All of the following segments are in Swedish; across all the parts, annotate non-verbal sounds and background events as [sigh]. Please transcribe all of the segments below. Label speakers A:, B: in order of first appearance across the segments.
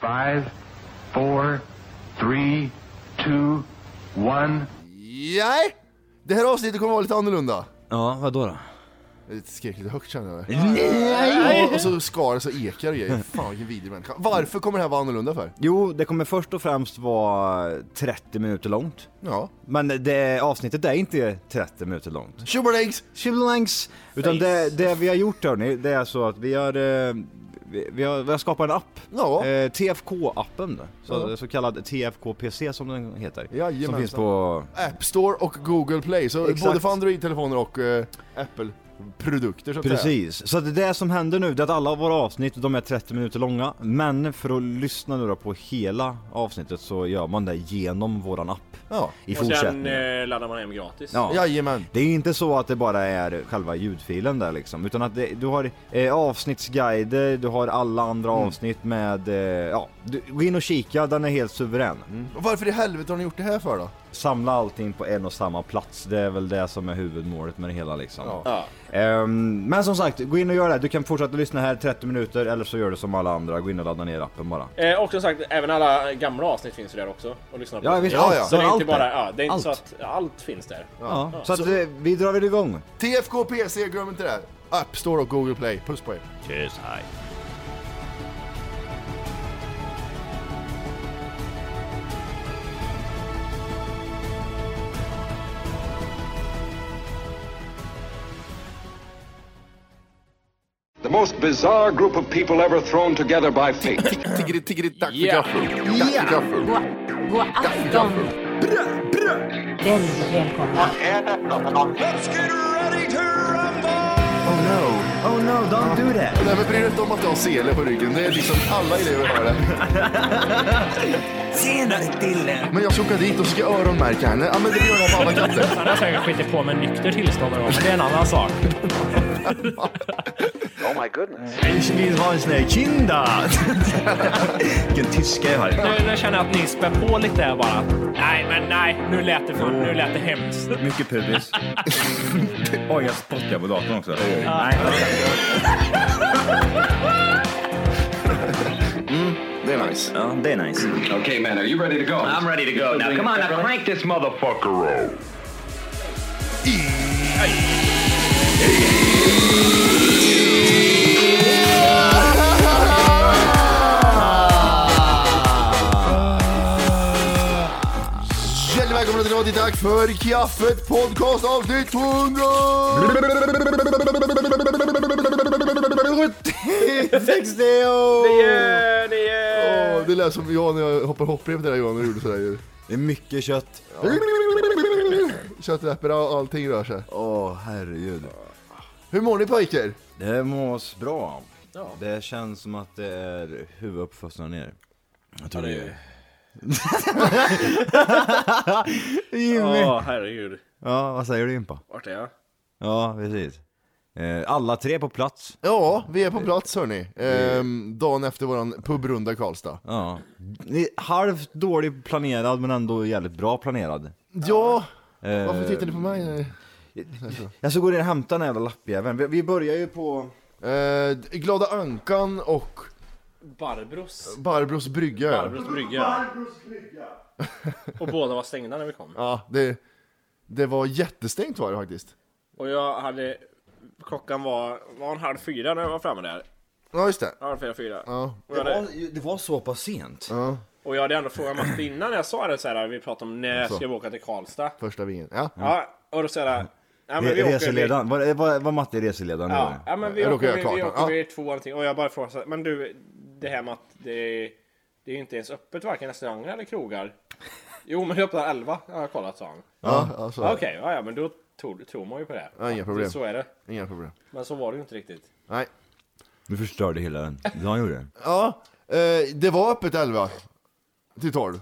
A: Five, four, three, two, one.
B: Nej! Det här avsnittet kommer vara lite annorlunda.
C: Ja, vadå då?
B: Jag skrek lite högt känner jag.
C: Nej!
B: Och- Och så skar det så ekar och grejer. Fan vilken vidrig människa. Varför kommer det här vara annorlunda för?
C: Jo, det kommer först och främst vara 30 minuter långt.
B: Ja.
C: Men det avsnittet är inte 30 minuter långt.
B: Tjobaläggs!
C: Chivalängs! Utan det, det vi har gjort hörni, det är så att vi har, eh, vi, vi har, vi har skapat en app.
B: Ja.
C: Eh, TFK-appen, så,
B: Ja.
C: så kallad TFK-PC som den heter. som
B: Jajamensan.
C: finns på...
B: App Store och Google Play, så
C: Exakt.
B: både för Android-telefoner och eh, Apple-produkter så att säga.
C: Precis, så att det som händer nu det är att alla våra avsnitt de är 30 minuter långa Men för att lyssna nu då på hela avsnittet så gör man det genom våran app
B: Ja.
C: i
D: Och sen
C: fortsättningen
D: eh, laddar man hem gratis.
C: Ja.
B: Jajamän.
C: Det är ju inte så att det bara är själva ljudfilen där liksom utan att det, du har eh, avsnittsguider, du har alla andra avsnitt med, eh, ja, du, gå in och kika, den är helt suverän.
B: Och varför i helvete har ni gjort det här för då?
C: Samla allting på en och samma plats, det är väl det som är huvudmålet med det hela liksom.
B: Ja.
D: Ja.
C: Ehm, men som sagt, gå in och gör det. Du kan fortsätta lyssna här 30 minuter eller så gör du som alla andra, gå in och ladda ner appen bara.
D: Eh, och som sagt, även alla gamla avsnitt finns ju där också. Och lyssna på.
C: Ja, visst,
B: Ja,
C: allt,
B: ja.
D: Så det är
C: allt
D: inte bara,
C: där.
D: ja, det är inte så
C: Allt.
D: att allt finns där.
C: Ja. Så att eh, vi drar väl igång.
B: TFK PC, glöm inte det. App Store och Google Play. Puss på er.
C: Tjus, hej.
E: The most bizarre group of people ever thrown together by fate.
B: Tiggeri, tiggeri, dack för
D: Yeah.
B: gaffel. Dack för gaffel.
F: God, god afton! Väldigt välkomna.
C: Oh no, oh no, don't do that.
B: Nej men bry dig inte om att du har sele på ryggen. Det är liksom alla elever har det.
G: Tjena Dille!
B: Men jag ska åka dit och ska öronmärka henne. Ja men det gör jag på alla katter.
H: Han har säkert skitit på med nykter tillstånd någon gång, men det är en annan sak.
C: Ich vill ha en sån här kinda. [laughs] Vilken tyska jag har.
H: Nu, nu känner jag att ni spär på lite här bara. Nej, men nej, nu lät det, för, nu lät det hemskt.
C: Mycket [laughs] pubis. Oj, jag spottar på datorn också.
B: Det är nice.
G: Ja, det är nice.
E: okay, man, are you ready to go?
G: I'm ready to go now. Come on, now crank this motherfucker up.
B: Hjärtligt välkomna till Radio Tack för kaffet podcast avsnitt 200!
C: [laughs]
D: Nio, nio!
B: Åh, Det lät som jag när jag hoppar hopprep där Johan och gjorde sådär ju.
C: Det är mycket kött.
B: Kötträpper och allting rör sig.
C: Åh, herregud.
B: Hur mår ni pojkar?
C: Det mås bra. Det känns som att det är huvud upp fast ner. Jag tror det är... [laughs] Jimmy!
D: Åh herregud.
C: Ja, vad säger du Jimpa?
D: Vart är jag?
C: Ja, precis. Eh, Alla tre på plats.
B: Ja, vi är på plats hörni. Ehm, dagen efter våran pubrunda i Karlstad.
C: Ja. Ni- Halvt dålig planerad men ändå jävligt bra planerad.
B: Ja,
C: Eh,
B: varför tittar ni på mig?
C: Jag ska gå ner och hämta den här jävla lappjäveln. Vi- Vi börjar ju på...
B: Eh, Glada Ankan och
D: Barbros.
B: Barbros brygga.
D: Barbros brygga. Och båda var stängda när vi kom.
B: Ja, det, det var jättestängt var det faktiskt.
D: Och jag hade... Klockan var, var en halv fyra när jag var framme där.
B: Ja, just det.
D: Halv fyra, fyra.
B: Ja.
D: Och, jag hade,
C: det var så pass sent.
D: och jag hade ändå frågat Matti innan jag sa det så här. Vi pratade om när ska vi åka till Karlstad?
B: Första vingen. Ja.
D: Ja, och då säger jag... Ja, men vi åker- vi-
C: Reseledaren, var, eh, var, var Matti reseledaren?
D: Ja, ja men vi
B: Eller
D: åker,
B: åker jag
D: vi,
B: klart
D: vi
B: då?
D: åker
B: Ja.
D: vid två eller någonting. Och jag bara frågar så här, men du, det här med att det, det är ju inte ens öppet varken restauranger eller krogar. [laughs] Jo, men det öppnar elva har jag kollat, sa han.
B: Ja, alltså,
D: Ja, Okej, ja, ja, men då tror, tror man ju på det.
B: Ja, inga problem.
D: Så är det.
B: Inga problem.
D: Men så var det ju inte riktigt.
B: Nej.
C: Du förstörde hela den. Han gjorde det.
B: Ja, eh, det var öppet 11 till 12. [laughs]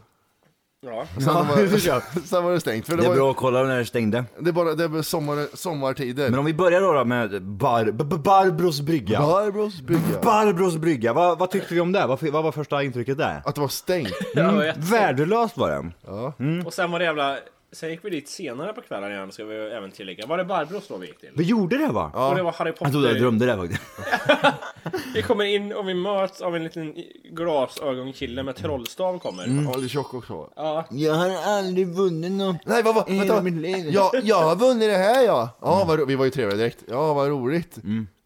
D: Ja.
B: Sen,
C: [laughs]
B: var, sen var det stängt. För det,
C: Det är
B: var,
C: bra att kolla när det stängde.
B: det är bara det är bara sommar, sommartider.
C: Men om vi börjar då, då med bar, b- b- Barbros brygga.
B: Barbros brygga.
C: Barbros brygga, vad, vad tyckte vi om det? Vad, fi- vad var första intrycket där?
B: Att det var stängt.
D: Det var
C: Mm,
D: jätte-
C: värdelöst var det.
D: Och sen var det jävla Sen gick vi dit senare på kvällen igen, ska vi även tillägga. Var det Barbros då vi gick till?
C: Vi gjorde det va?
D: Och det var Harry Potter.
C: Jag trodde jag drömde det faktiskt.
D: Vi kommer in och vi möts av en liten glasögonkille med trollstav kommer.
B: Ja, lite tjock också.
C: Jag har aldrig vunnit någon.
B: Nej, vad, vad,
C: I
B: vänta.
C: mitt liv.
B: Ja, jag har vunnit det här ja.
C: Mm.
B: Ja, vad, ro- vi var ju trevliga direkt. Ja, vad roligt.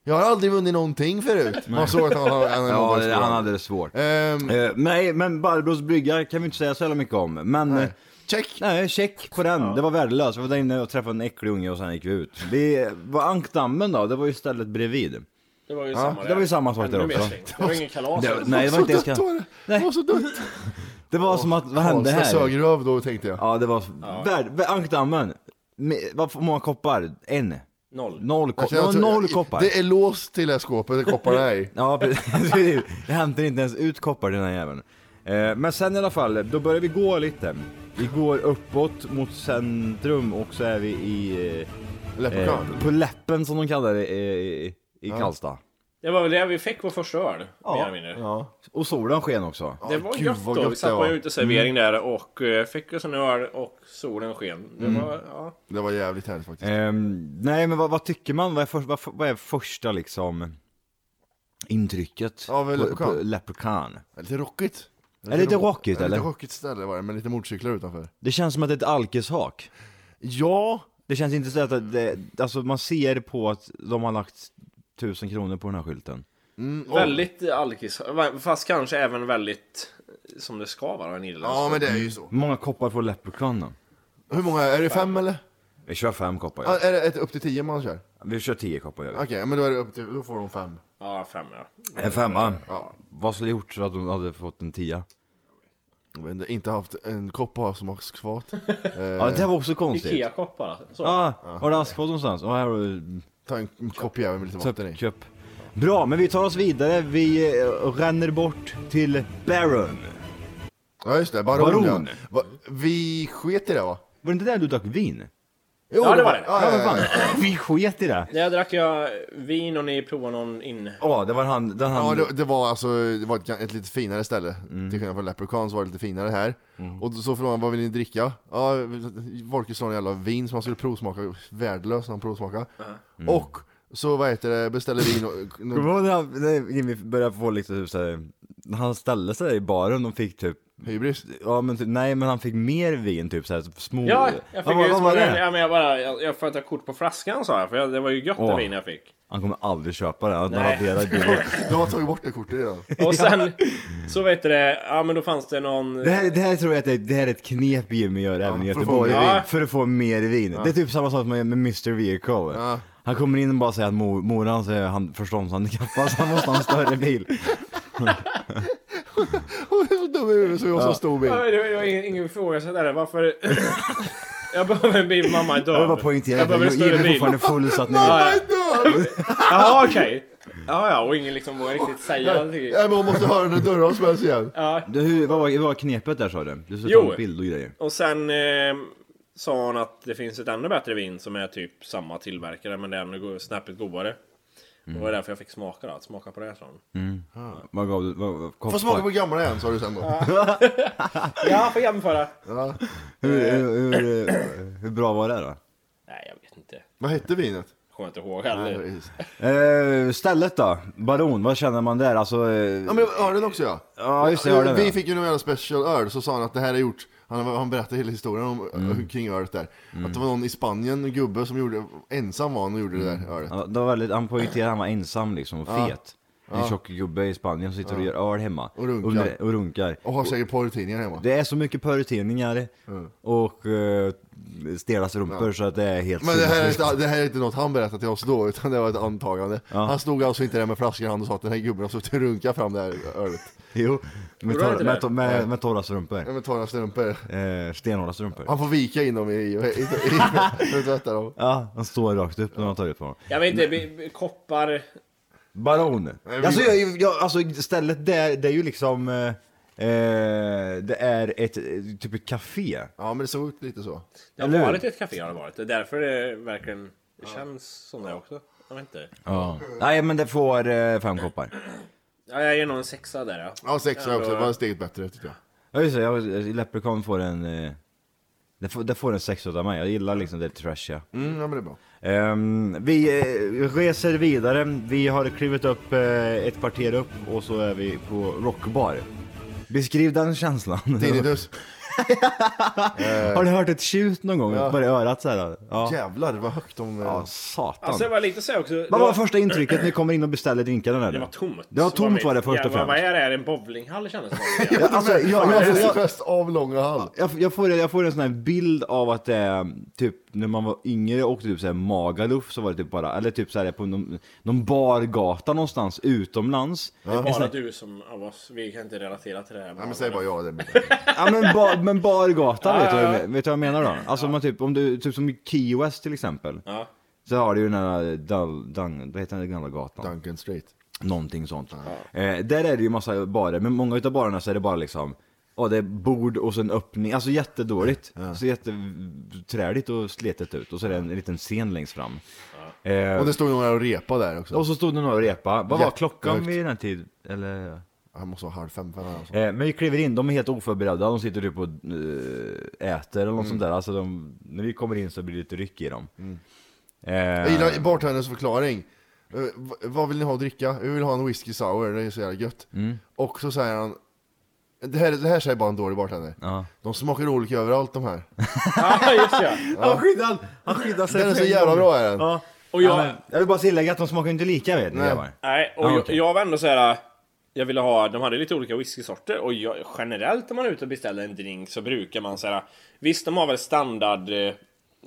B: Jag har aldrig vunnit någonting förut. Man såg att han, han, han,
C: [laughs] Ja, det, han hade det svårt.
B: Ehm,
C: Eh, nej, men Barbros brygga kan vi inte säga så jävla mycket om. Men nej,
B: check.
C: nej check på den. Det var värdelöst. Vi var där inne och träffade en äcklig unge och sen gick vi ut. Det var ankdammen då, det var ju stället bredvid.
D: Det var ju samma
C: det var ju samma sak
D: Ännu
C: där
D: mer
C: också.
D: släng. Det var ingen kalas.
C: Det, nej, det var inte ens
B: Så dött var det. Det
C: Nej.
B: var så dött.
C: Det var som att, vad hände
B: Karlstad
C: här?
B: Sögeröv då tänkte jag.
C: Ja, det var värd, vär, ankdammen. Med- Vad hur många koppar? En?
D: Noll.
C: Noll, ko-
B: Alltså, Jag tror-
C: noll koppar.
B: Det är låst till det här skåpet, där kopparna är i.
C: Ja [laughs] precis, jag hämtar inte ens ut koppar till den här jäveln. Eh, Men sen i alla fall, då börjar vi gå lite. Vi går uppåt mot centrum och så är vi i... eh, Eh,
B: Leprechaun.
C: på läppen som de kallar det eh, i, i Karlstad.
D: Det var väl det vi fick vår första öl. mer eller mindre.
B: Ja.
C: Och solen sken också.
D: Det var
B: Gud,
D: gött
B: vad
D: då. Vi
B: gött det
D: satt på
B: var.
D: en uteservering där och eh, fick oss en öl och solen sken. Det var, ja.
B: Det var jävligt härligt faktiskt.
C: Ehm, nej men vad, vad tycker man? Vad är, för, vad, vad är första liksom intrycket?
B: Av
C: på-
B: Leprechaun?
C: på Leprechaun?
B: Lite rockigt.
C: Eh. Är det lite rockigt eller?
B: Lite rockigt ställe var det, med lite motorcyklar utanför.
C: Det känns som att det är ett alkishak.
B: Ja,
C: Det känns inte så att det, alltså man ser på att de har lagt tusen kronor på den här skylten.
D: Väldigt alkis. Fast kanske även väldigt eh, som det ska vara en irländsk.
B: ja men det är ju så.
C: Hur många koppar får Leprechaun då?
B: Hur många, är det fem eller?
C: Vi kör fem koppar
B: Ja,
C: ja.
B: är det ett, upp till tio man kör?
C: Vi kör tio koppar gör vi.
B: Okej, men då, är det upp till, då får de fem.
D: Ja, fem ja.
C: En femma. Vad skulle gjort så att de hade fått en tia?
B: Jag vet inte, inte haft en kopp av som askfat.
C: Ja det var också konstigt.
D: Ikea-kopp bara. Så.
C: Ah, har du askfat någonstans? Ja, här har du
B: Ta en kopp jävel med lite vatten i.
C: köp. Bra, men vi tar oss vidare. Vi eh, ränner bort till Baron.
B: Ja just det, baron,
C: Baron.
B: Ja. Va, Vi sket i det va?
C: Var det inte där du drack vin?
B: Jo,
D: Ja, det var det.
B: Ja, ja,
C: Ja, vad
B: ja, ja.
C: fan. Vi sket i det.
D: Där drack jag vin och ni provade någon in.
C: Ja, det var han, den
B: ja
C: han...
B: det, det var alltså det var ett, ett lite finare ställe. Till skillnad från Leprechaun så var det lite finare här. Och då- så frågade han vad vill ni dricka? Ja, Volker sa en jävla vin som han skulle provsmaka. Värdelös när han provsmakade. Och så vad heter det, beställde vin och...
C: Kommer du ihåg när han- när Jimmy började få liksom typ såhär, när han ställde sig i baren och fick typ
B: Hybris.
C: Ja men typ, nej men han fick mer vin typ såhär, små...
D: Ja, jag fick
C: vad,
D: ju
C: vad var
D: smörja-
C: det?
D: Ja, men jag bara, jag, jag får ta kort på flaskan sa jag, för jag, det var ju gött det
C: Åh.
D: vin jag fick.
C: [laughs] Han kommer aldrig köpa det, han
D: Nej.
C: raderar bilden.
B: Du har tagit bort det kortet [laughs] redan.
D: Och sen så vet du det, ja men då fanns det någon...
C: Det här, det här tror jag att det, det här är ett knep Jimmy gör även i
B: för att få
C: Göteborg,
D: mer vin.
C: för att få mer vin. Det är typ samma sak med, med Mr Vehicle. Han kommer in och bara säger att mor, mor hans är han förståndshandikappad så han måste ha en större bil.
B: Hon är så dum i huvudet så jag har så stor bil.
D: Ja, det var- det var ingen, ingen fråga så där, varför... [laughs] jag behöver en bil, mamma är död.
C: Jag vill bara poängtera
D: Jag
C: att
D: behöver en
C: Jimmy
D: större
C: är
D: bil.
C: fortfarande full så att ni...
D: Ja, ja.
B: Nej,
D: Jaha okej. Ja ja, och ingen liksom vågar
C: [laughs]
D: riktigt säga någonting.
B: men hon måste höra den dörren som helst igen.
C: Du, hur, vad, var, vad var knepet där sa du? Du skulle
D: Jo.
C: ta en bild och grejer.
D: Och sen eh, sa hon att det finns ett ännu bättre vin som är typ samma tillverkare men det är ännu go- snäppet godare. Det
C: Mm.
D: var därför jag fick smaka då, att smaka på det här sa hon.
C: Vad gav du? Vad, vad,
B: Får smaka på gamla igen sa du sen då.
D: Ja, får jämföra.
C: Hur, hur, hur, eh, hur bra var det då?
D: Nej, jag vet inte.
B: Vad hette vinet?
D: Kommer inte ihåg heller.
C: Eh, stället då? Baron, vad känner man där? Alltså... eh,
B: Ja men ölen också ja.
C: Ja, just det, ölen,
B: Vi
C: ja.
B: fick ju någon jävla special öl, så sa han att det här är gjort, han, han berättade hela historien om, kring ölet där. Att det var någon i Spanien, en gubbe som gjorde, ensam var han och gjorde det där ölet.
C: Ja, det var väldigt, han poängterade att han var ensam liksom, och fet. En tjock gubbe i Spanien som sitter och gör öl hemma.
B: Och runkar.
C: Under- Och runkar.
B: Och har säkert porrtidningar hemma.
C: Det är så mycket porrtidningar och uh, stela strumpor så att det är helt
B: Men det här, är
C: sinnessjukt.
B: inte, det här är inte något han berättade till oss då, utan det var ett antagande. Han stod alltså inte där med flaskan i hand och sa att den här gubben har suttit och runkat fram det här ölet.
C: Jo, med,
D: Gjorde
C: torra,
D: han inte
C: med,
D: det?
C: to- med, med torra strumpor.
B: Ja, men ta några strumpor.
C: Eh, stenhårda strumpor.
B: Han får vika in dem i, i, i, i, i tvätta dem.
C: Ja, han står rakt upp när man tar ut på honom.
D: Jag vet inte, vi- vi- koppar...
C: Baron. Alltså, jag, jag, alltså stället där, det är ju liksom... Eh, eh, det är ett, eh, typ ett café.
B: Ja men det såg ut lite så.
D: Det har
C: Eller hur?
D: varit ett café har det varit. Det är därför det verkligen det känns som det också. Jag vet inte.
C: Ja. Nej men det får eh, fem koppar.
D: Ja, jag ger nog en sexa där ja.
B: Ja sex var också, det var steget bättre tyckte jag.
C: Ja just det, jag- Leprechaun får en... Eh, Det får, det får en sexa av mig, jag gillar liksom det trashiga.
B: Mm, ja men det är bra.
C: Ehm, vi eh, reser vidare, vi har klivit upp eh, ett kvarter upp och så är vi på Rockbar. Beskriv den känslan.
B: Tinnitus.
C: har du hört ett tjut någon gång? Bara i örat så här? Ja.
B: Jävlar vad högt de... eh,
C: ja, satan.
D: Alltså det var lite så här också. det
C: Vad var
D: var-
C: första intrycket när ni kommer in och beställer drinkarna eller?
D: Det var tomt.
C: Det var tomt
D: mitt-
C: var det först och
D: Jävlar, Vad
C: främst.
D: är det här? En bowlinghall kändes det
C: [laughs]
D: som.
C: Ja, alltså, jag,
B: Fan,
C: jag, jag,
B: det är
C: jag,
B: mest avlånga hall.
C: jag, jag, får, jag får en sån här bild av att det är typ när man var yngre och åkte typ så här Magaluf så var det typ bara, eller typ så här på någon, någon bargata någonstans utomlands.
D: Det är bara du som av oss. Vi kan inte relatera till det här.
B: Nej men säg bara ja. Det är bra.
C: Ja men, bar, men bargata, vet, du, vad jag- vet du vad jag menar då? Alltså om man typ, om du, typ som i Key West till exempel.
D: Ja.
C: Så har du ju den här, dal, dang, vad heter den gamla gatan?
B: Duncan Street.
C: Någonting sånt. Eh, där är det ju massa barer, men många utav barerna så är det bara liksom Ja det är bord och sen öppning, alltså jättedåligt. Så jätteträligt och sletet ut och så är det en liten scen längst fram. Eh,
B: Och det stod några och repa där också.
C: och så stod det några och repa. Vad var
B: Jättehögt.
C: klockan vid den här tiden? Eller?
B: Han måste vara halv fem, fem eller något sånt.
C: Eh, men vi kliver in, de är helt oförberedda, de sitter typ och eh, äter eller något
B: Mm.
C: sånt där. Alltså de, när vi kommer in så blir det lite ryck i dem. Eh,
B: Jag gillar bartenderns förklaring. Eh, v- vad vill ni ha att dricka? Vi vill ha en whisky sour, det är så jävla gött.
D: Mm.
B: Och så säger han, det här, det här säger bara en dålig bartender.
C: Ja.
B: De smakar olika överallt de
D: [laughs]
B: här.
D: Ja, just ja.
C: Han skyddar, han skyddar sig.
B: Den är
C: för
B: så
C: en
B: jävla
C: gång.
B: bra är den.
C: Ja.
D: Och jag-
C: Ja, men jag vill bara tillägga att de smakar inte lika vet ni
B: Nej.
C: grabbar.
D: Nej, och
C: Ja,
D: jag,
C: okej.
D: jag var ändå så här. Jag ville ha, de hade lite olika whiskysorter och jag, generellt när man är ute och beställer en drink så brukar man så här. Visst, de har väl standard eh,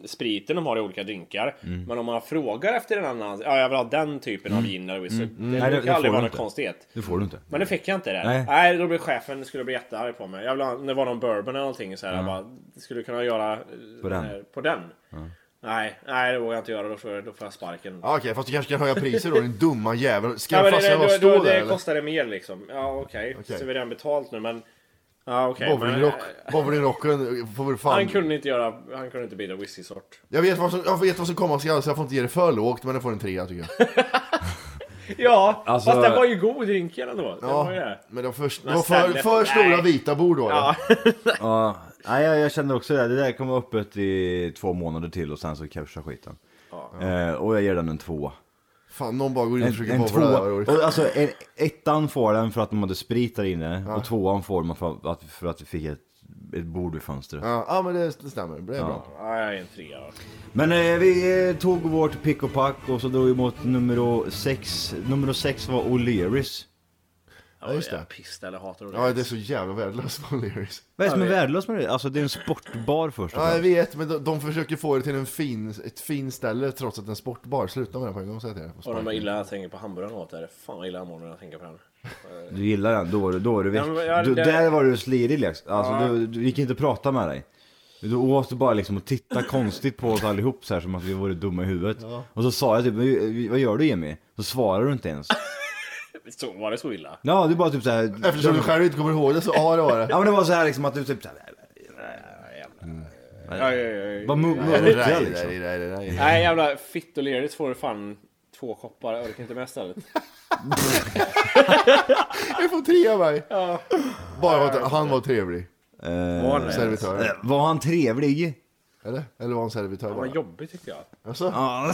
D: spriten de har i olika drinkar.
C: Mm.
D: Men om man frågar efter en annan, ja jag vill ha den typen av gin eller whisky. Det
C: Mm. Nej, det-
D: brukar
C: det får
D: aldrig
C: du
D: vara något
C: inte.
D: konstigt.
C: Det får du inte.
D: Men det fick jag inte det.
C: Nej.
D: Nej, då blev chefen skulle bli jättearg på mig. Jag vill ha, det var någon bourbon eller någonting så här. Jag bara, skulle du kunna göra eh,
C: På den?
D: eh, På den. Nej, nej det vågar jag inte göra. Då får, då får jag sparken.
B: Ja, Okej, fast du kanske kan höja priser då din dumma jävel. Ska
D: Ja,
B: jag
D: men det,
B: fastna och
D: det, det,
B: stå där
D: det
B: eller?
D: kostade mer liksom. Ja okej,
B: Okej.
D: så vi har redan betalt nu men... Ja okej. men, eh,
B: Bowlingrock, bowlingrocken eh, får väl
D: han
B: fan...
D: kunde inte göra, han kunde inte
B: [laughs]
D: byta whiskysort.
B: Jag vet vad som, jag vet vad som komma skall så jag får inte ge det för lågt men jag får en trea tycker jag.
D: Ja,
C: Alltså-
D: fast den var ju god drinken ändå. Den var ju
B: Ja,
D: det.
B: men det var för, det
D: Men
B: var för,
D: stället-
B: för stora
D: nej.
B: vita bord då.
D: Ja.
C: Ja, nej, jag, jag känner också det. Det där kommer öppet i två månader till och sen så kraschar skiten. Eh, och jag ger den en två.
B: Fan, någon bara går in och
C: En,
B: försöker
C: en
B: bowla
C: tvåa.
B: där. och-
C: Och alltså, en, ettan får den för att de hade sprit där inne och tvåan får man för att, för att vi fick ett, ett bord vid fönstret.
B: Ja, ja men det, det stämmer, det är bra.
D: Ja, jag är en trea.
C: Men eh, vi eh, tog vårt pick och pack och så drog vi mot nummer sex. Nummer sex var O'Learys.
B: Ja, just
D: Jag
B: det.
D: pissar eller hatar det.
B: Ja, det är så jävla värdelöst på O'Learys.
C: Vad är det som är värdelöst med det? Alltså det är en sportbar först och
B: Ja, jag
C: främst.
B: vet, men de, de försöker få det till en fin, ett fin ställe trots att det är en sportbar. Sluta med det på en gång, säger jag till
D: Och de är
B: dig.
D: illa jag tänker på hamburgaren åt där. Fan vad illa jag mår när jag tänker på den.
C: Du gillar den, då, var du- då var du vick.
D: Ja, men jag-
C: du,
D: det-
C: Där var du slirig liksom. Alltså du, du gick inte att prata med dig. Du åt bara liksom och tittade konstigt på oss allihop så här som att vi vore dumma i huvudet. Och så sa jag typ, "Vad- vad gör du Jimmy? Så svarar du inte ens.
D: Så, var det så illa?
C: Ja, du bara typ så här.
B: Eftersom du själv inte kommer ihåg det så, ja det var det.
C: Ja men det var så här liksom att du typ så här.
D: Ja, ja, ja, ja.
C: Var mu-
B: Nej,
C: mummiga
B: nej,
C: liksom.
B: nej, nej, nej.
D: Nej jävla fittolerigt får du fan två koppar. Jag orkar inte
C: [laughs]
D: med stället.
B: Jag får trea mig. Bara för att han var trevlig.
D: Var det?
B: Servitör.
C: Eh, Var han trevlig?
B: Eller? Eller var han servitör
D: Vad
B: bara?
D: jobbigt tycker jag.
B: Alltså? [laughs]
C: Ja.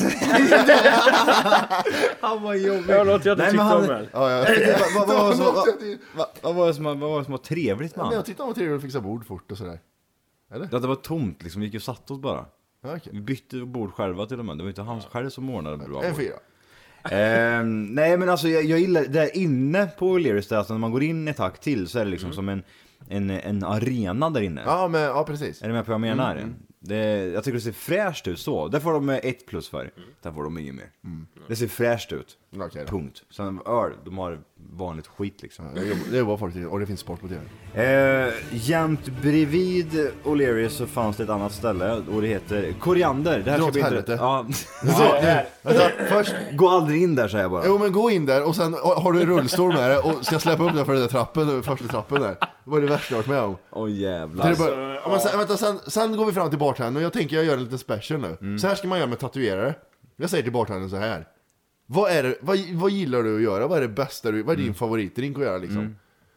C: han var jobbig.
D: Det var något jag inte
C: Nej,
D: tyckte
C: men
D: om
C: han-
D: den.
B: Ja, jag tyckte-
C: Vad-
B: [laughs]
C: vad- vad- vad-
B: Det var något
C: vad-
B: jag tyckte-
C: vad- Vad var det som var- vad var det som var trevligt med
B: Men
C: han?
B: jag tyckte han var trevlig och fixade bord fort och sådär.
C: Att det var tomt liksom, vi gick och satte oss bara.
B: Ja, okej.
C: Vi bytte bord själva till och med, det var inte han själv som ordnade bra
B: En
C: bord.
B: fyra.
C: Ehm, nej men alltså jag, jag gillar, där inne på O'Learys, där, alltså, när man går in ett hack till så är det liksom som en, en, en arena där inne.
B: Ja, men ja precis.
C: Är ni med på vad jag menar? Det, jag tycker det ser fräscht ut så. Där får de eh, ett plus för. Där får de inget mer. Det ser fräscht ut.
B: Mm. Okej då.
C: Punkt. Sen öl, de har vanligt skit liksom.
B: Det jobbar- Det jobbar folk till och det finns sport på tv.
C: Eh, jämt bredvid O'Learys så fanns det ett annat ställe och det heter Koriander. Det här
B: Dra
C: ska
B: åt
C: bli inte...
B: helvete. [laughs]
C: Ja.
B: Så, nu, vänta, först,
C: Gå aldrig in där säger jag bara.
B: jo men gå in där och sen har du en rullstol med dig och ska släppa upp den för den där trappen, första trappen där. Det var det värsta jag varit med om.
C: Åh jävlar.
B: Till det bör- Alltså, ja, men sen, vänta, sen, sen går vi fram till bartendern och jag tänker jag gör en liten special nu. Så här ska man göra med tatuerare. Jag säger till bartendern så här. Vad, är det, vad, vad gillar du att göra? Vad är det bästa du, vad är din favoritdrink att göra liksom?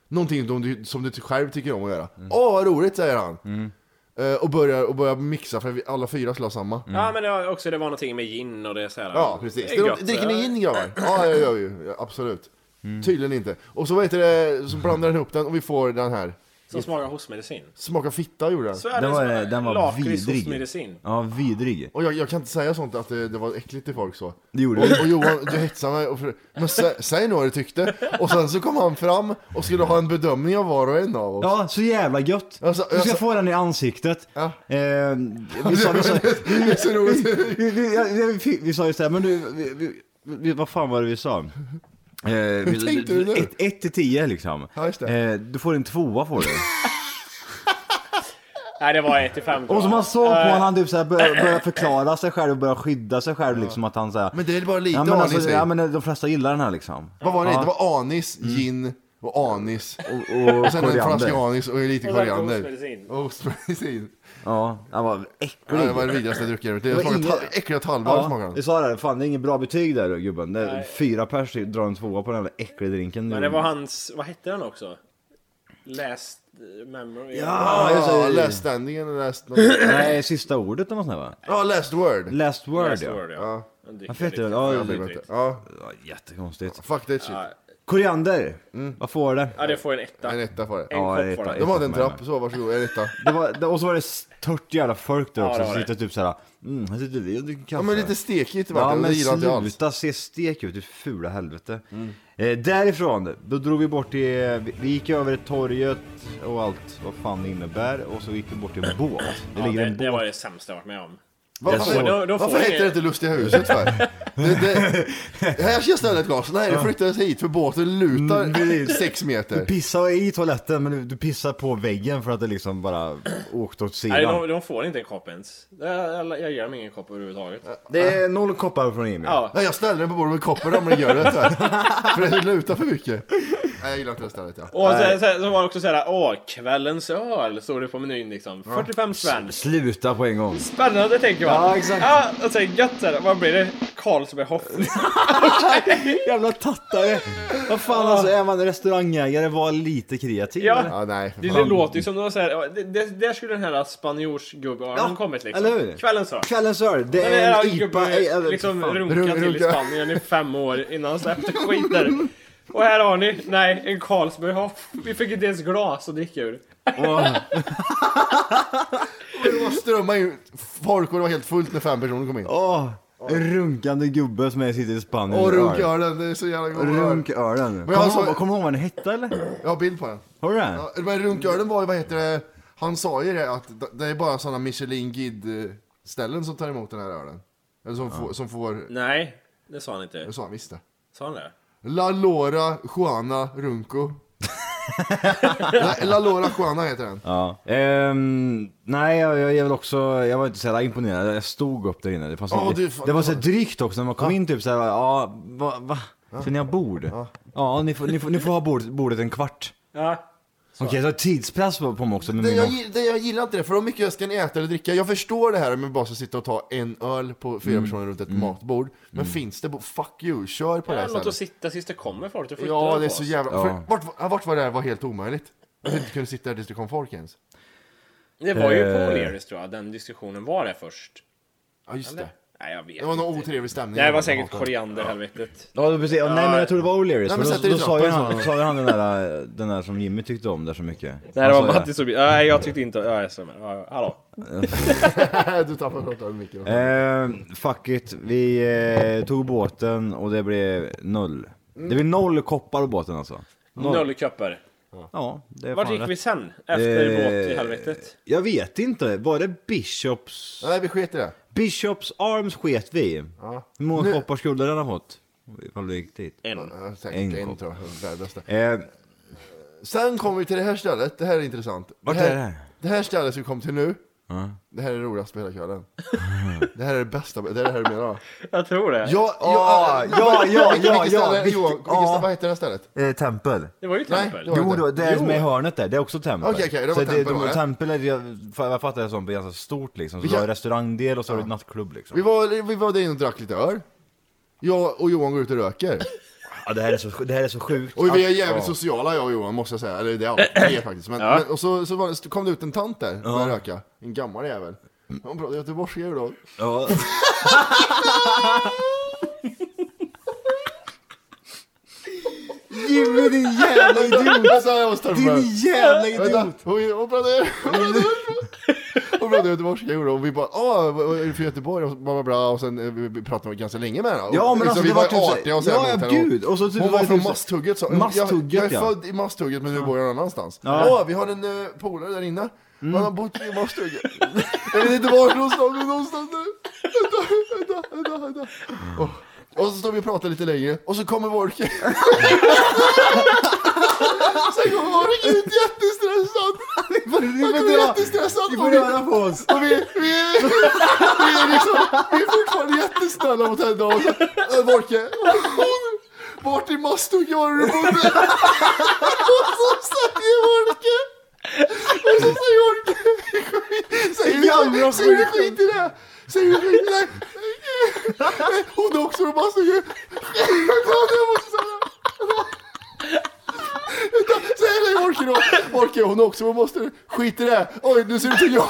B: Någonting som du, som du själv tycker om att göra. Åh vad roligt säger han. Eh, och, börjar, och börjar mixa för vi alla fyra skulle ha samma.
C: Mm.
D: Ja men det var också det var någonting med gin och det så här.
B: Ja, precis.
D: Det
B: Det
D: är
B: är
D: Mm. gott, eh,
B: de- dricker
D: eller?
B: ni gin grabbar? Ja, det gör vi ju. Ja, Absolut. Tydligen inte. Och så, vad heter det, så blandar den ihop den och vi får den här.
D: Som smakar hostmedicin.
B: Smaka fitta gjorde den.
D: Sveriges
C: Den var, den var
D: lakrits
C: vidrig.
D: hostmedicin.
C: Ja, vidrig.
B: Och jag, jag kan inte säga sånt att det, det var äckligt till folk så.
C: Det gjorde
B: Och,
C: du.
B: och Johan, du hetsade mig. Och för, men sä, säg nu vad du tyckte. Och sen så kom han fram och skulle ha en bedömning av var och en av oss.
C: Ja, så jävla gött!
B: Alltså,
C: du ska
B: alltså-
C: få den i ansiktet.
B: Ja.
C: Eh, vi, sa, vi, sa,
B: Det är så roligt.
C: vi, vi, ja, vi, fick- vi sa just det här, men du, vi, vi, vi, vad fan var det vi sa? Eh, vi-
B: tänkte du nu?
C: ett- ett till tio liksom.
B: Ja, just det.
C: Eh, du får en tvåa får
B: [laughs]
C: du.
D: Nej det var 1 till 5
C: Och som man såg på honom, han typ såhär bör, började förklara sig själv och började skydda sig själv liksom att han såhär
B: Men det är bara lite
C: ja, men,
B: anis
C: alltså,
B: i.
C: ja, men de flesta gillar den här liksom.
B: Vad var det?
C: Ja.
B: Det var anis, gin och anis.
C: Och, och,
B: Mm. Och sen en flaska
C: koriander.
B: anis och lite
D: Och sen
B: koriander.
D: hostmedicin.
B: Och Ostmedicin.
C: Ja, han var
B: Ja,
C: äcklig.
B: det var det vidrigaste jag druckit. i mitt liv. Det
C: var
B: smakade
C: inget-
B: ta- äckliga tallbarr smakade
C: Ja,
B: den.
C: jag sa det, fan det är inget bra betyg där gubben. Det är
D: Nej.
C: fyra pers drar en tvåa på den där äckliga drinken.
D: Men det var hans, vad hette den också? Last eh, memory?
C: Ja, just
B: Ja,
C: det.
B: last standing and last...
C: Nej, sista ordet om man säger va?
B: Ja, last word.
C: Last word
D: Last
C: ja.
D: word ja. Han dricker
C: Varför heter
D: lite.
C: den? Ja,
D: Ja,
B: Jag blir
D: lite.
B: bättre. Ja,
C: Ja, Jättekonstigt.
B: fuck that shit.
C: Koriander, vad får det?
D: Ja, det får en etta.
B: En
D: En
B: etta får Mm. det.
C: Ja,
D: kopp
C: etta.
D: får den.
B: De hade en trapp, så varsågod, en etta.
C: det var, det- och så var det stört jävla folk där
D: Ja,
C: också,
D: det var
C: som
D: det.
C: sitter typ såhär, mm, här sitter vi och dricker kaffe.
B: Ja men lite stekigt
C: Ja
B: vart det, och det
C: men
B: gillar inte jag alls.
C: sluta se stek ut, du fula helvete. Eh, därifrån, då drog vi bort till, vi- vi gick över torget och allt vad fan det innebär och så gick vi bort till en båt. Det
D: Ja,
C: ligger
D: det,
C: en båt.
D: det var det sämsta jag varit med om.
C: Jag
B: Varför,
C: såg-
D: då- då får
B: varför
D: ni-
B: heter det inte Lustiga huset för? Det, det, det här ska jag ställa ett glas, nej det flyttades hit för båten
C: Mm,
B: lutar
C: precis.
B: sex
C: Du
B: meter.
C: pissar i toaletten men du, du pissar på väggen för att det liksom bara åkte åt
D: Nej,
C: sidan.
D: de, de får inte en kopp ens. Jag, jag, jag ger dem ingen kopp överhuvudtaget.
C: Det är noll koppar från Emil.
D: Ja.
B: Nej jag ställde den på bordet med koppen ramlade i göret här. För det lutar för mycket. Nej jag gillar inte det stället ja.
D: Och sen, sen så var det också såhär, åh, kvällens öl stod det på menyn liksom. 45 spänn.
C: Sluta på en gång.
D: Spännande tänker man.
C: Ja, exakt.
D: Ja, och sen gött såhär, vad blir det? Karlsberg Hoff.
C: [laughs] Jävla tattare! Vad fan alltså, är man restaurangägare, var lite kreativ.
D: Ja.
C: eller?
B: Ja nej för
D: Det,
B: fan.
D: det låter ju som de var såhär, ja, det- det- där skulle den här spanjorsgubbölen
C: Ja,
D: kommit liksom.
C: eller hur?
D: Kvällens öl.
C: Kvällens öl, det
D: Men det
C: är
D: här
C: en
D: gubben
C: IPA. ej, eller-
D: liksom
C: fan.
B: Runk-
D: runkat till i
B: runka.
D: Spanien i fem år innan han släppte skit där. Och här har ni, nej, en Carlsberg Hoff. Vi fick inte ens glas att dricka ur.
B: Det var strömmar in folk och det var helt fullt när fem personer kom in.
C: Åh, en runkande gubbe som är sitter i Spanien.
B: Och
C: med öl.
B: runkölen, det är så jävla god öl.
C: Runkölen. Kommer
B: jag
C: du
B: såg-
C: ihåg- kommer du ihåg vad den hette eller?
B: Jag har bild på den.
C: Har du det?
B: Ja, men runkölen var ju, vad heter det, han sa ju det att d- det är bara sådana Michelin Guide eh, ställen som tar emot den här ölen. Eller som, får, som får,
D: Nej, det sa han inte.
B: jag sa han visst det.
D: Sa han det?
B: La Lora Juana
C: [laughs]
B: Runco. Nej, La Lora Juana heter den.
C: Ja. Ehm, nej, jag, jag, jag, vill också, jag var inte så jävla imponerad. Jag stod upp där inne. Det, fanns
B: Ja,
C: inget-
B: du, fan,
C: det var
B: det
C: så
B: var-
C: drygt också när man kom in typ såhär, ja, va, va? Ska ni ha bord? Ja, ni, får, ni, får, ni får ha bord, bordet en kvart.
D: Ja.
C: Okej, så tidspress på på mig också. Med
B: Det,
C: mina...
B: jag, gi- det, jag gillar inte det, för hur mycket ska ni äta eller dricka? Jag förstår det här med bara att sitta och ta en öl på
C: Mm.
B: fyra personer runt ett matbord. Men finns det, bo- fuck you, kör på det här
D: Något att
B: stället.
D: sitta sist det kommer folk. och flyttar
B: Ja,
D: på
B: det är
D: oss.
B: så jävla...
C: Ja.
B: För, vart, vart var det här var helt omöjligt? Att inte kunde sitta där tills det kom folk ens.
D: Det var ju på
C: Eh.
D: O'Learys tror jag, den diskussionen var där först.
B: Ja, just det.
D: Nej, jag vet
B: Det var
D: inte.
B: någon otrevlig stämning.
D: Nej, det var säkert korianderhelvetet.
C: Ja, det- precis. Ja, nej, men jag tror det var O'Learys.
B: men
C: för
B: sätt
C: Då,
B: er i
C: då sa ju
B: trappan,
C: han,
B: så.
C: sa ju han den, där, eh, den där som Jimmy tyckte om där så mycket.
D: Det här
C: Han
D: var
B: Alltså,
C: sa det.
D: Mattis och... Nej, jag tyckte inte... Ja, jag stämmer. Ja, ja. Hallå?
B: [laughs] du tappade pratar med micken.
C: Eh, fuck it. Vi eh, tog båten och det blev noll. Det blev noll koppar på båten alltså.
D: Noll köper.
C: Ja, det är
D: Vart
C: fan
D: gick
C: rätt.
D: vi sen? Efter
C: Eh,
D: båt i helvetet?
C: Jag vet inte, var det Bishops...
B: Nej, vi sket i det.
C: Bishops Arms sket vi i. Hur många
B: Nu-
C: koppar skulle den ha fått? Ifall du gick dit.
D: En.
B: Ja,
C: En
B: Säkert en,
C: kopp.
B: tror jag. Värdelösta.
C: Eh,
B: Sen kommer vi till det här stället, det här är intressant.
C: Vart
B: det här,
C: är det här?
B: Det här stället som vi kom till nu, det här är det roligaste på hela kvällen. det här är det bästa, det är det här du menar va?
D: Jag tror det.
B: Ja,
C: Ah, Ja,
B: äh,
C: ja, ja,
B: vilket-
C: ja,
B: vilket
C: ja,
B: ställe,
C: vilket-
B: Johan, vilket
C: ja.
B: ställe, vad heter det här stället?
C: eh, tempel.
D: Det var ju
B: Nej,
D: tempel.
B: det var-
C: Jo, då, det är
D: Jo.
C: med hörnet där, det är också tempel.
B: Okej, okej, det var
C: så
B: tempel, var
C: det,
B: det?
C: tempel är, jag jag fattar det som, blir ganska stort liksom. Så
B: Vi
C: du har
B: kan-
C: restaurangdel och så har du nattklubb liksom.
B: Vi var, vi var där inne och drack lite öl. Jag och Johan går ut och röker.
C: Ja, det här är så, det här är så sjukt.
B: Och vi är
C: Att-
B: jävligt
C: ja.
B: sociala jag och Johan måste jag säga, eller det
C: [laughs]
B: är vi är faktiskt. Men, men, och så, så, var det, så kom det ut en tant där, och började röka. En gammal jävel. Hon pratade göteborgska ju då.
C: Ja. Jimmy din jävla idiot!
B: Det sa jag hos
C: Din
B: Törnberg.
C: jävla
B: Vänta,
C: idiot!
B: hon hon pratade hon pratade-
C: Mm.
B: [laughs] hon pratade göteborgska gjorde hon. Och vi bara åh, vad vad är du från Göteborg? Och, så bla, bla, bla, och sen eh, vi vi pratade ganska länge med henne. Och liksom,
C: Ja, men alltså,
B: vi
C: det
B: var
C: var typ så här-
B: artiga och så här
C: Ja, ja,
B: mot henne.
C: gud. Och så typ
B: hon
C: var
B: var
C: det
B: från
C: typ så-
B: Masthugget sa
C: Masthugget,
B: jag, jag är
C: ja.
B: född i Masthugget men nu bor jag någon annanstans. Åh, vi har en eh, polare där inne.
C: Mm.
B: Han har bott i Masthugget. [laughs] jag vet inte var någonstans, men någonstans där. Vänta, vänta, vänta, vänta. Och, och så står vi och pratar lite längre och [laughs] så kommer Wolke. Sen kommer Wolke ut jättestressad. Han
C: får
B: kommer
C: dra-
B: jättestressad.
C: ni
B: och
C: får
B: vi-
C: röra på oss.
B: och vi, vi, vi, är liksom, vi är fortfarande jättesnälla mot henne. Och så, "Äh, Volke, vart i Mastugge var det du bodde? Och så säger Volke, och så säger Volke, säger
C: Jävla
B: du- säger du
C: skit.
B: skit i det? Säger du skit i det? Hon är också från Mastugge. Jag måste säga. Säg det Volke då. Volke, hon är också från Mastugge. Skit i det. Oj, nu ser du ut som jag.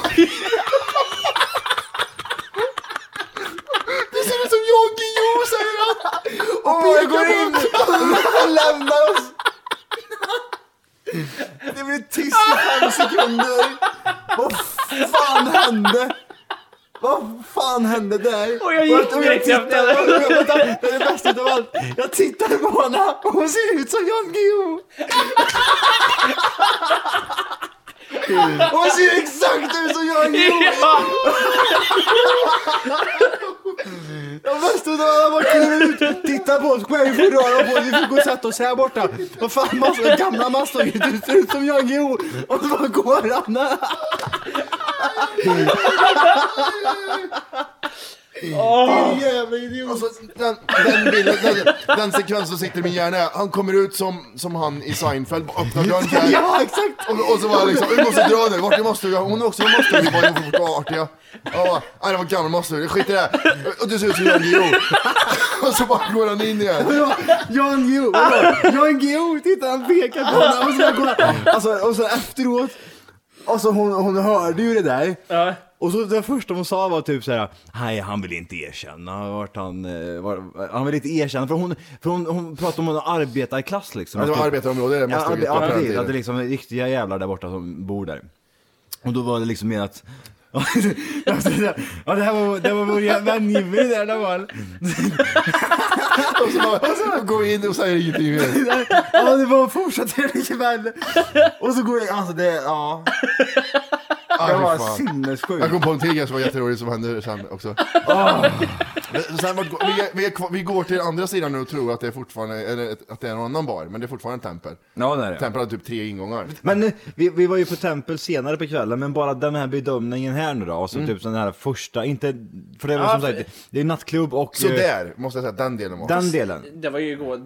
B: Det ser ut som Jan Guillou säger han! Och
C: Åh, jag
B: pekar
C: går
B: på-
C: in! Han lämnar oss! Det blev tyst i fem sekunder! Vad fan hände? Vad fan hände där?
H: Och jag gick direkt
C: tittade,
H: efter henne.
C: Vänta, det är det bästa utav allt. Jag tittade på henne och hon ser ut som
H: [laughs]
C: Jan Guillou! Hon ser exakt ut som Jan Guillou!
H: Ja,
C: De bästa dagarna var ut, titta på oss, själv får röra på oss, vi får gå och sätta oss här borta. Vad fan, massor, gamla masthugget, du ser ut som Jan Guillou. Och så bara går han.
B: Jävla idiot! Alltså, den, den, bilden, den, den sekvensen som sitter i min hjärna är, han kommer ut som, som han i Seinfeld, bara öppnar dörren så här.
C: [laughs] Ja, exakt.
B: Och, och så var jag liksom, vi måste dra nu, vart är Mastugge? Hon är också från Mastugge, vi bara, vi får vara artiga. Ja, bara, nej det var gammal Mastugge, skit i det. Och du ser ut som Jan Guillou. [laughs] Och så bara går han in igen.
C: Jan Guillou, vadå? Jan Guillou, titta han pekar på henne. Och så bara går han. Alltså, och så efteråt, alltså hon, hon hörde ju det där.
H: ja.
C: Och så det första hon sa var typ så här: nej han vill inte erkänna vart han, eh, var, han vill inte erkänna för hon, för hon, hon pratade om en arbetarklass liksom.
B: Ja, det var
C: Att-
B: arbetarområde, det
C: Ja,
B: Mastugget.
C: ja,
B: på den
C: precis,
B: tiden.
C: att det liksom är riktiga jävlar där borta som bor där. Och då var det liksom mer att [laughs] Ja, det här var, det var vår jä- vän Jimmy där, det var
B: Och så bara, går in och säger ingenting mer.
C: Ja, det var fortsatt trevlig kväll. Och så går jag, alltså det, ja. Det
B: Ah, fy
C: var
B: fan. Jag
C: sinnessjukt.
B: kom på en till grej som var jätterolig som hände sen också.
C: Ah.
B: Men Sen vart, vi, är- vi, är kvar- vi går till andra sidan nu och tror att det är fortfarande, eller att det är någon annan bar, men det är fortfarande Tempel.
C: Ja, det är det.
B: Tempel hade typ tre ingångar.
C: [laughs] Men eh, vi, vi var ju på Tempel senare på kvällen, men bara den här bedömningen här nu då, alltså typ den här första, inte, för det var som
D: Mm. för-
C: sagt, det är nattklubb och
B: Så
C: eh,
B: där, måste jag säga, den delen var.
C: den delen.
D: Det var ju gå...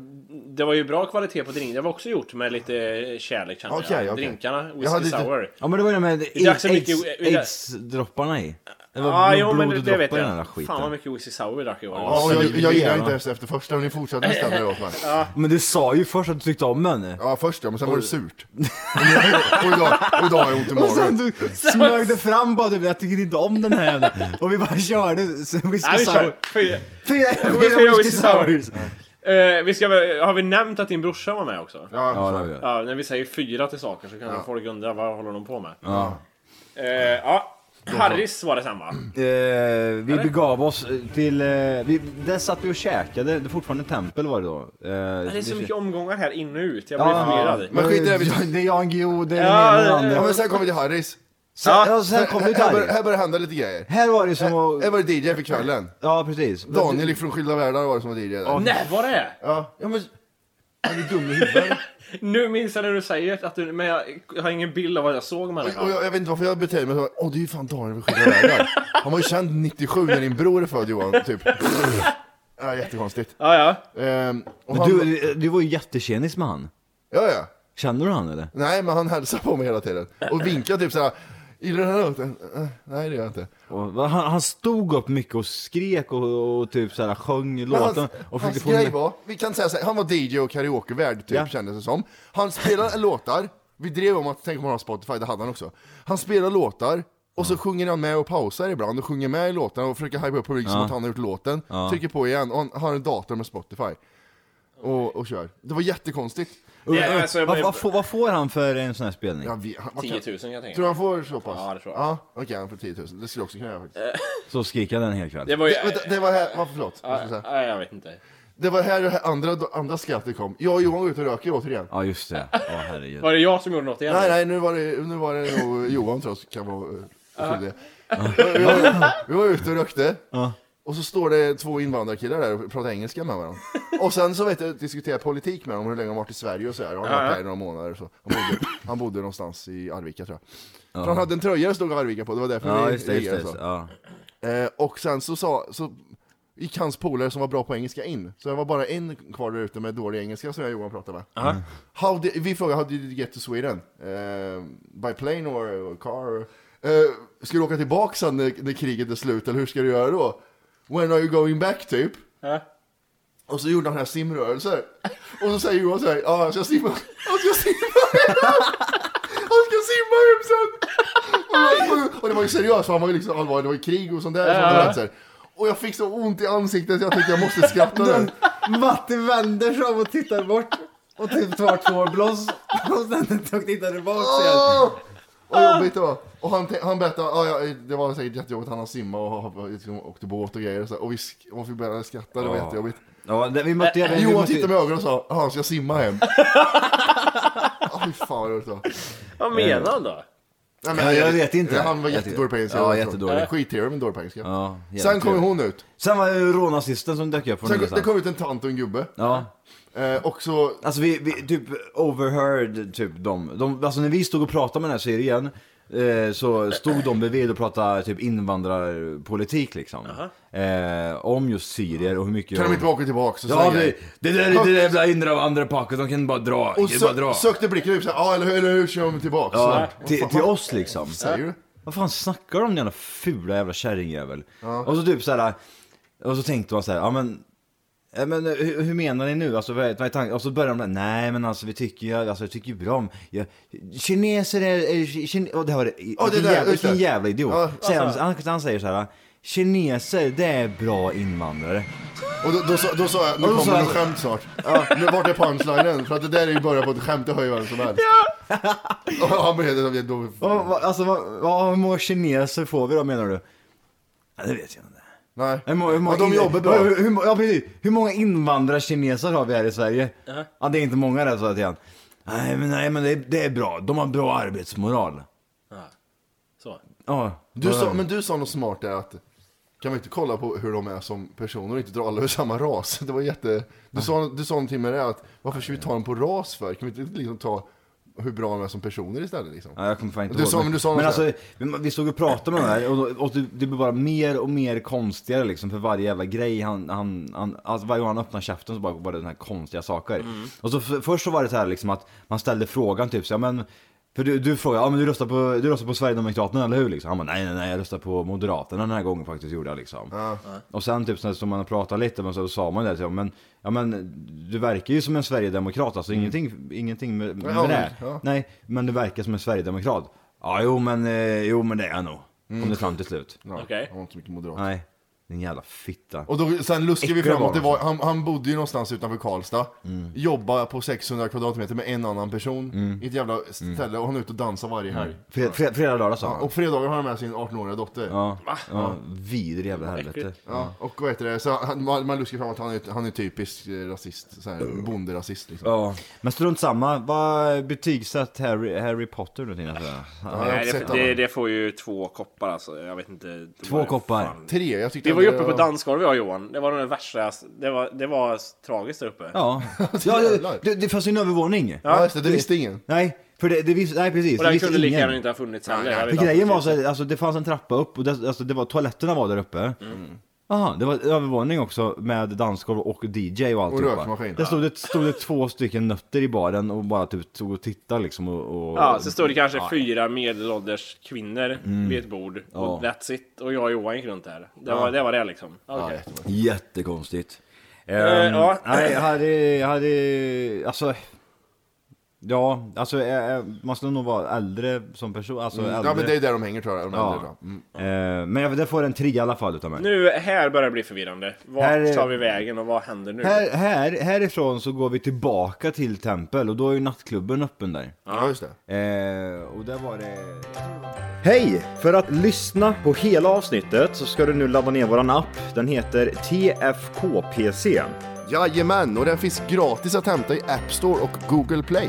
D: Det var ju bra kvalitet på drink. Det var också gjort med lite kärlek kände
B: Okej,
D: jag.
B: okej.
D: Drinkarna,
B: Jag
D: whisky
B: hade lite-
D: sour.
C: Ja men det var ju det med
D: Det är så mycket-
C: aids-
D: det är-
C: aids-dropparna i. Det var
D: Ja,
C: blod-
D: Ah, jo men det, det
C: bloddroppar
D: vet
C: i den här
D: jag.
C: skiten.
D: Fan vad mycket whisky sour vi drack i år.
B: Ja, och jag, jag gillar
C: Ja.
B: inte efter, efter första, men ni fortsatte
C: [laughs]
B: bestämma er åt mig.
C: Men du sa ju först att du tyckte om den.
B: Ja, först ja, men sen var det
C: [laughs]
B: surt. Och idag, och idag har jag ont i
C: Och sen
D: [laughs]
B: magen.
C: du smög det fram bara typ, jag tycker inte om den här jävla. Och vi bara körde så
D: Nej,
C: whisky
D: vi kör.
C: sour.
D: Fyra-
C: Fyra
D: fyra
C: fyra whisky
D: whisky
C: sours.
D: Eh, vi ska, väl- har vi nämnt att din brorsa var med också?
C: Ja, det
B: Ja,
C: var det.
D: Ja, när vi säger fyra till saker så kan folk undra vad håller de på med? Ja. ja. Harris var det sen va?
C: Eh, vi begav oss till, eh, vi, där satt vi och käkade, det är fortfarande tempel var det då. Eh,
D: Det är så
C: vi-
D: mycket omgångar här in och ut, jag blir förvirrad.
B: Men skit i det, vi-
C: Ja, Det är Jan Guillou, det är
D: Ja,
C: den ena och den
D: det-
B: ja,
C: andra.
B: men sen kom vi till Harris.
C: Sen, ja, sen kom vi till
B: här, bör-
C: Harry.
B: här började hända lite grejer.
C: Här var det som
B: Här
C: att,
B: var det DJ för kvällen.
C: ja precis.
B: Eh, Daniel från Skilda Världar var det som var DJ där.
D: Nej, vad det är?
B: Ja, ja men... Han är dum i huvudet.
D: Nu minns jag när du säger att du, men jag, jag har ingen bild av vad jag såg med
B: Och
D: det.
B: jag, jag vet inte varför jag beter mig så. Åh, det är ju fan Daniel från Skilda Världar. Han var ju känd 97 när din bror är född Johan, typ. Ja, jättekonstigt.
D: Ja, ja.
B: Ehm, och
C: Men
B: han,
C: Du, du var ju jättekändis med han.
B: Ja, ja.
C: Känner du han eller?
B: Nej, men han hälsar på mig hela tiden. Och vinkar typ såhär. Gillar du den här låten? Eh, Nej det gör jag inte.
C: Och va- han, han stod upp mycket och skrek och, och typ såhär sjöng
B: Men
C: låten och
B: hans, hans
C: få
B: grej
C: med-
B: var, vi kan säga så här, han var DJ och karaokevärd typ
C: Ja.
B: kändes det som. Han spelade [laughs] låtar, vi drev om att tänk om han har Spotify, det hade han också. Han spelar låtar, och så sjunger han med och pausar ibland och sjunger med i låtarna och försöker hypa upp publiken som att han har gjort låten. Trycker på igen och han har en dator med Spotify. Och, och kör. Det var jättekonstigt.
C: Och-
D: Ja, alltså, jag
C: vad,
D: blev-
C: vad, får, vad får han för en sån här spelning?
B: Ja, vi, han,
D: 10 000 kan jag tänka
B: Tror du han får så pass?
D: Ja, det tror jag.
B: Ja, Okej, han får 10 000. Det skulle jag också kunna göra faktiskt.
C: Så skriker han en hel kväll.
D: Det var ju...
B: Det, vänta, det var här, varför förlåt? Jag ska
D: Eh,
B: säga.
D: Ja, ja, jag vet inte.
B: Det var här, det här andra, andra skrattet kom. Jag och Johan var ute och röker återigen.
C: Ja just det, ja herregud.
D: Var det jag som gjorde något igen?
B: Nej, nej, nu var det, nu var det
C: [laughs]
B: nog Johan tror jag som kan vara eh, skyldig. Vi var- Vi var ute och rökte. Och så står det två invandrarkillar där och pratar engelska med varandra. Och sen så vet jag, diskuterar jag politik med dem, hur länge de varit i Sverige och sådär. Och Han har varit här i några månader och så. Han bodde, han bodde någonstans i Arvika tror jag. För han hade en tröja det stod Arvika på, det var därför
C: Ja
B: vi
C: just det, just det.
B: reagerade
C: Just
B: så.
C: det. Ja.
B: Eh, och sen så, sa, så gick hans polare som var bra på engelska in. Så det var bara en kvar där ute med dålig engelska som jag och Johan pratade med. How did, vi frågade how did you get to Sweden? Eh, by plane or car? Eh, ska du åka tillbaka sen när, när kriget är slut eller hur ska du göra då? When are you going back typ? Och så gjorde han den här simrörelser. Och så säger Johan så här, ja jag ska simma, jag ska simma han ska simma hem sen! Och, och det var ju seriöst, för han var ju liksom allvarlig, det var ju krig och sånt där. som hade hänt så här. Och jag fick så ont i ansiktet så jag tänkte jag måste skratta nu.
C: Matti vänder sig om och tittar bort och typ tar två blås och sen tittar tillbaks
B: Åh! Vad jobbigt det var. Och han, te- han berättade, ja, ja, det var säkert jättejobbigt, han har simmat och har- har- liksom, åkte båt och grejer och så. här. Och vi, sk- och vi började skratta, det var
C: Ja.
B: jättejobbigt.
C: Ja, det, vi mötte även... vi
B: Johan
C: mötte-
B: tittade med ögonen och sa, ja, ska jag simma hem? [laughs] Ah, Fy fan vad roligt det var.
D: Vad menar han då?
B: Nej,
C: Ja, jag vet inte.
B: Han var
C: Jag vet
B: jättedålig på engelska.
C: inte. Ja,
B: jag tror.
C: jättedålig.
B: Skittrevlig men dålig på engelska.
C: Ja,
B: Sen
C: jävligt
B: kom ju
C: trevligt.
B: hon ut.
C: Sen var det ju rånazisten som dök upp från
B: Sen, det
C: ingenstans.
B: kom ut en tant och en gubbe.
C: Ja.
B: Eh, och så,
C: Alltså vi, vi typ overheard typ dem. De, alltså när vi stod och pratade med den här syrien eh, så stod de bredvid och pratade typ invandrarpolitik liksom. Eh, om just syrier och hur mycket...
B: kan de inte bara åka tillbaka? Så säger
C: Ja, vi,
B: jag.
C: det där är det där jävla invandrarpaket, de kan bara dra.
B: och
C: de kan bara
B: sö
C: dra.
B: sökte blicken ut såhär, ja eller hur, eller hur kör de tillbaka?
C: Ja,
B: Så-
C: till,
B: Vad
C: till
B: fan
C: oss liksom.
B: Säger du?
C: Vad fan snackar de om den jävla fula jävla kärringjävel? Och så typ så här. och så tänkte man så här, ja men, ja, men eh, hur, hur menar ni nu? Alltså, vad är, vad är tanken? Och så börjar de där, nej men alltså vi tycker ju, alltså, vi tycker ju bra om, ja, kineser är, är kine, och det var det, alltså.
B: Ja, det
C: vilken,
B: där,
C: jävla,
B: just
C: vilken
B: det.
C: jävla idiot.
B: Ja.
C: Säger han, han, han säger så här, kineser det är bra invandrare.
B: Och då, då, sa- då sa jag, nu
C: Och då sa
B: kommer
C: jag-
B: något skämt snart. Ja, nu, vart är punchlinen? För att det där är ju början på ett skämt, det hör ju vem som helst. [laughs] Och han blev då...
C: Vad- vad- Alltså vad, vad, hur många kineser får vi då menar du? Ja, det vet jag inte.
B: Nej.
C: Hur många, hur många
B: Ja, de
C: in-
B: jobbar bra.
C: Hur, hur, ja, precis. hur många invandrarkineser har vi här i Sverige? Ja, det är inte många där, sa jag till han. Nej, men, nej, men det, det är bra. De har bra arbetsmoral.
D: Så.
C: Ja.
B: Du sa, men du sa något smart där att, kan vi inte kolla på hur de är som personer och inte dra alla över samma ras? Det var jätte... Du sa, du sa någonting med det att, varför ska vi ta dem på ras för? Kan vi inte liksom ta hur bra de är som personer istället liksom?
C: Ja, jag kommer fan inte
B: Du
C: ihåg.
B: sa- men du sa
C: men
B: något
C: alltså, vi, vi stod och pratade med honom här och, då- och det, det blev bara mer och mer konstigare liksom för varje jävla grej han, han, han alltså varje gång han öppnade käften så bara var det den här konstiga saker.
B: Mm.
C: Och så för, först så var det så här liksom att man ställde frågan typ så, ja men för du, du frågade, ja men du röstar på, du röstar på Sverigedemokraterna eller hur liksom? Han bara, nej nej nej jag röstar på Moderaterna den här gången faktiskt gjorde jag liksom. Och sen typ så- så man pratade lite men så sa man det så, men, ja men du verkar ju som en Sverigedemokrat alltså ingenting, ingenting med, med
B: Mm. Ja,
C: det. här.
B: ja.
C: Nej, men du verkar som en sverigedemokrat. Ja, jo men, eh, jo, men det är jag nog. Kom det fram till slut.
B: Mm. Ja,
D: Okej.
B: Han var inte så mycket moderat.
C: Nej, din jävla fitta.
B: Och då, sen luskade vi
C: Äckliga
B: fram att det
C: barn,
B: var, han, han bodde ju någonstans utanför Karlstad, jobbade på 600 kvadratmeter med en annan person i ett jävla ställe och han är ute och dansar varje helg.
C: Fred, fred, fredag, lördag sa
B: Ja,
C: han.
B: och fredagar har han med sin 18-åriga dotter. Ja.
C: Ja, ja, vidrig jävla helvete.
B: och vad heter det, så han, man, man luskar fram att han är, han är typisk eh, rasist, så här, bonderasist liksom.
C: Ja. Men strunt samma, vad betygsatt Harry, Harry Potter nu Tina? tror jag?
B: jag har
D: Nej,
B: inte
D: det,
B: sett honom.
D: det, det får ju två koppar alltså. Jag vet inte. Det
C: Två
D: var-
C: koppar.
D: fan.
B: Tre, jag tyckte
D: Vi var ju
B: ändå-
D: uppe på dansgolvet jag och Johan. Det var nog det värsta. Det var, det var tragiskt där uppe.
B: [laughs]
C: Ja, ja
B: Jävlar.
C: det, det, det fanns ju en övervåning.
B: Ja, just det, det visste ingen.
C: Nej, för det, det visste, nej precis.
D: Och
C: det
D: den
C: visste
D: kunde lika
C: ingen.
D: gärna inte ha funnits heller. Jag
C: För
D: vet inte.
B: Mm.
C: grejen var så här, alltså det fanns en trappa upp och det, alltså det var, toaletterna var där uppe. Aha, det var en övervåning också med dansgolv och DJ och alltihopa.
B: rökmaskin.
C: Det stod, det stod det två stycken nötter i baren och bara typ tog och tittade liksom och... och
D: Ja, så står det kanske fyra medelålders kvinnor vid ett bord.
C: Ja.
D: Och that's it. Och jag och Johan gick runt där. Det var det, var det liksom. Okej.
C: Jättekonstigt.
B: Eh,
C: Um,
D: ja.
C: Nej, hade, hade, alltså... Ja, alltså eh, eh, man skulle nog vara äldre som person, alltså äldre.
B: Mm. Ja men det är där de hänger tror jag. De
C: Ja.
B: äldre, tror jag. Mm.
C: Eh, men jag, det får en trea i alla fall utav mig.
D: Nu, här börjar det bli förvirrande. Vart
C: Här-
D: tar vi vägen och vad händer nu?
C: Här, här, härifrån så går vi tillbaka till tempel och då är ju nattklubben öppen där.
B: Ja just det.
C: Eh, och där var det...
I: Hej! För att lyssna på hela avsnittet så ska du nu ladda ner våran app. Den heter TFKPC.
B: Jajamän, och den finns gratis att hämta i App Store och Google Play.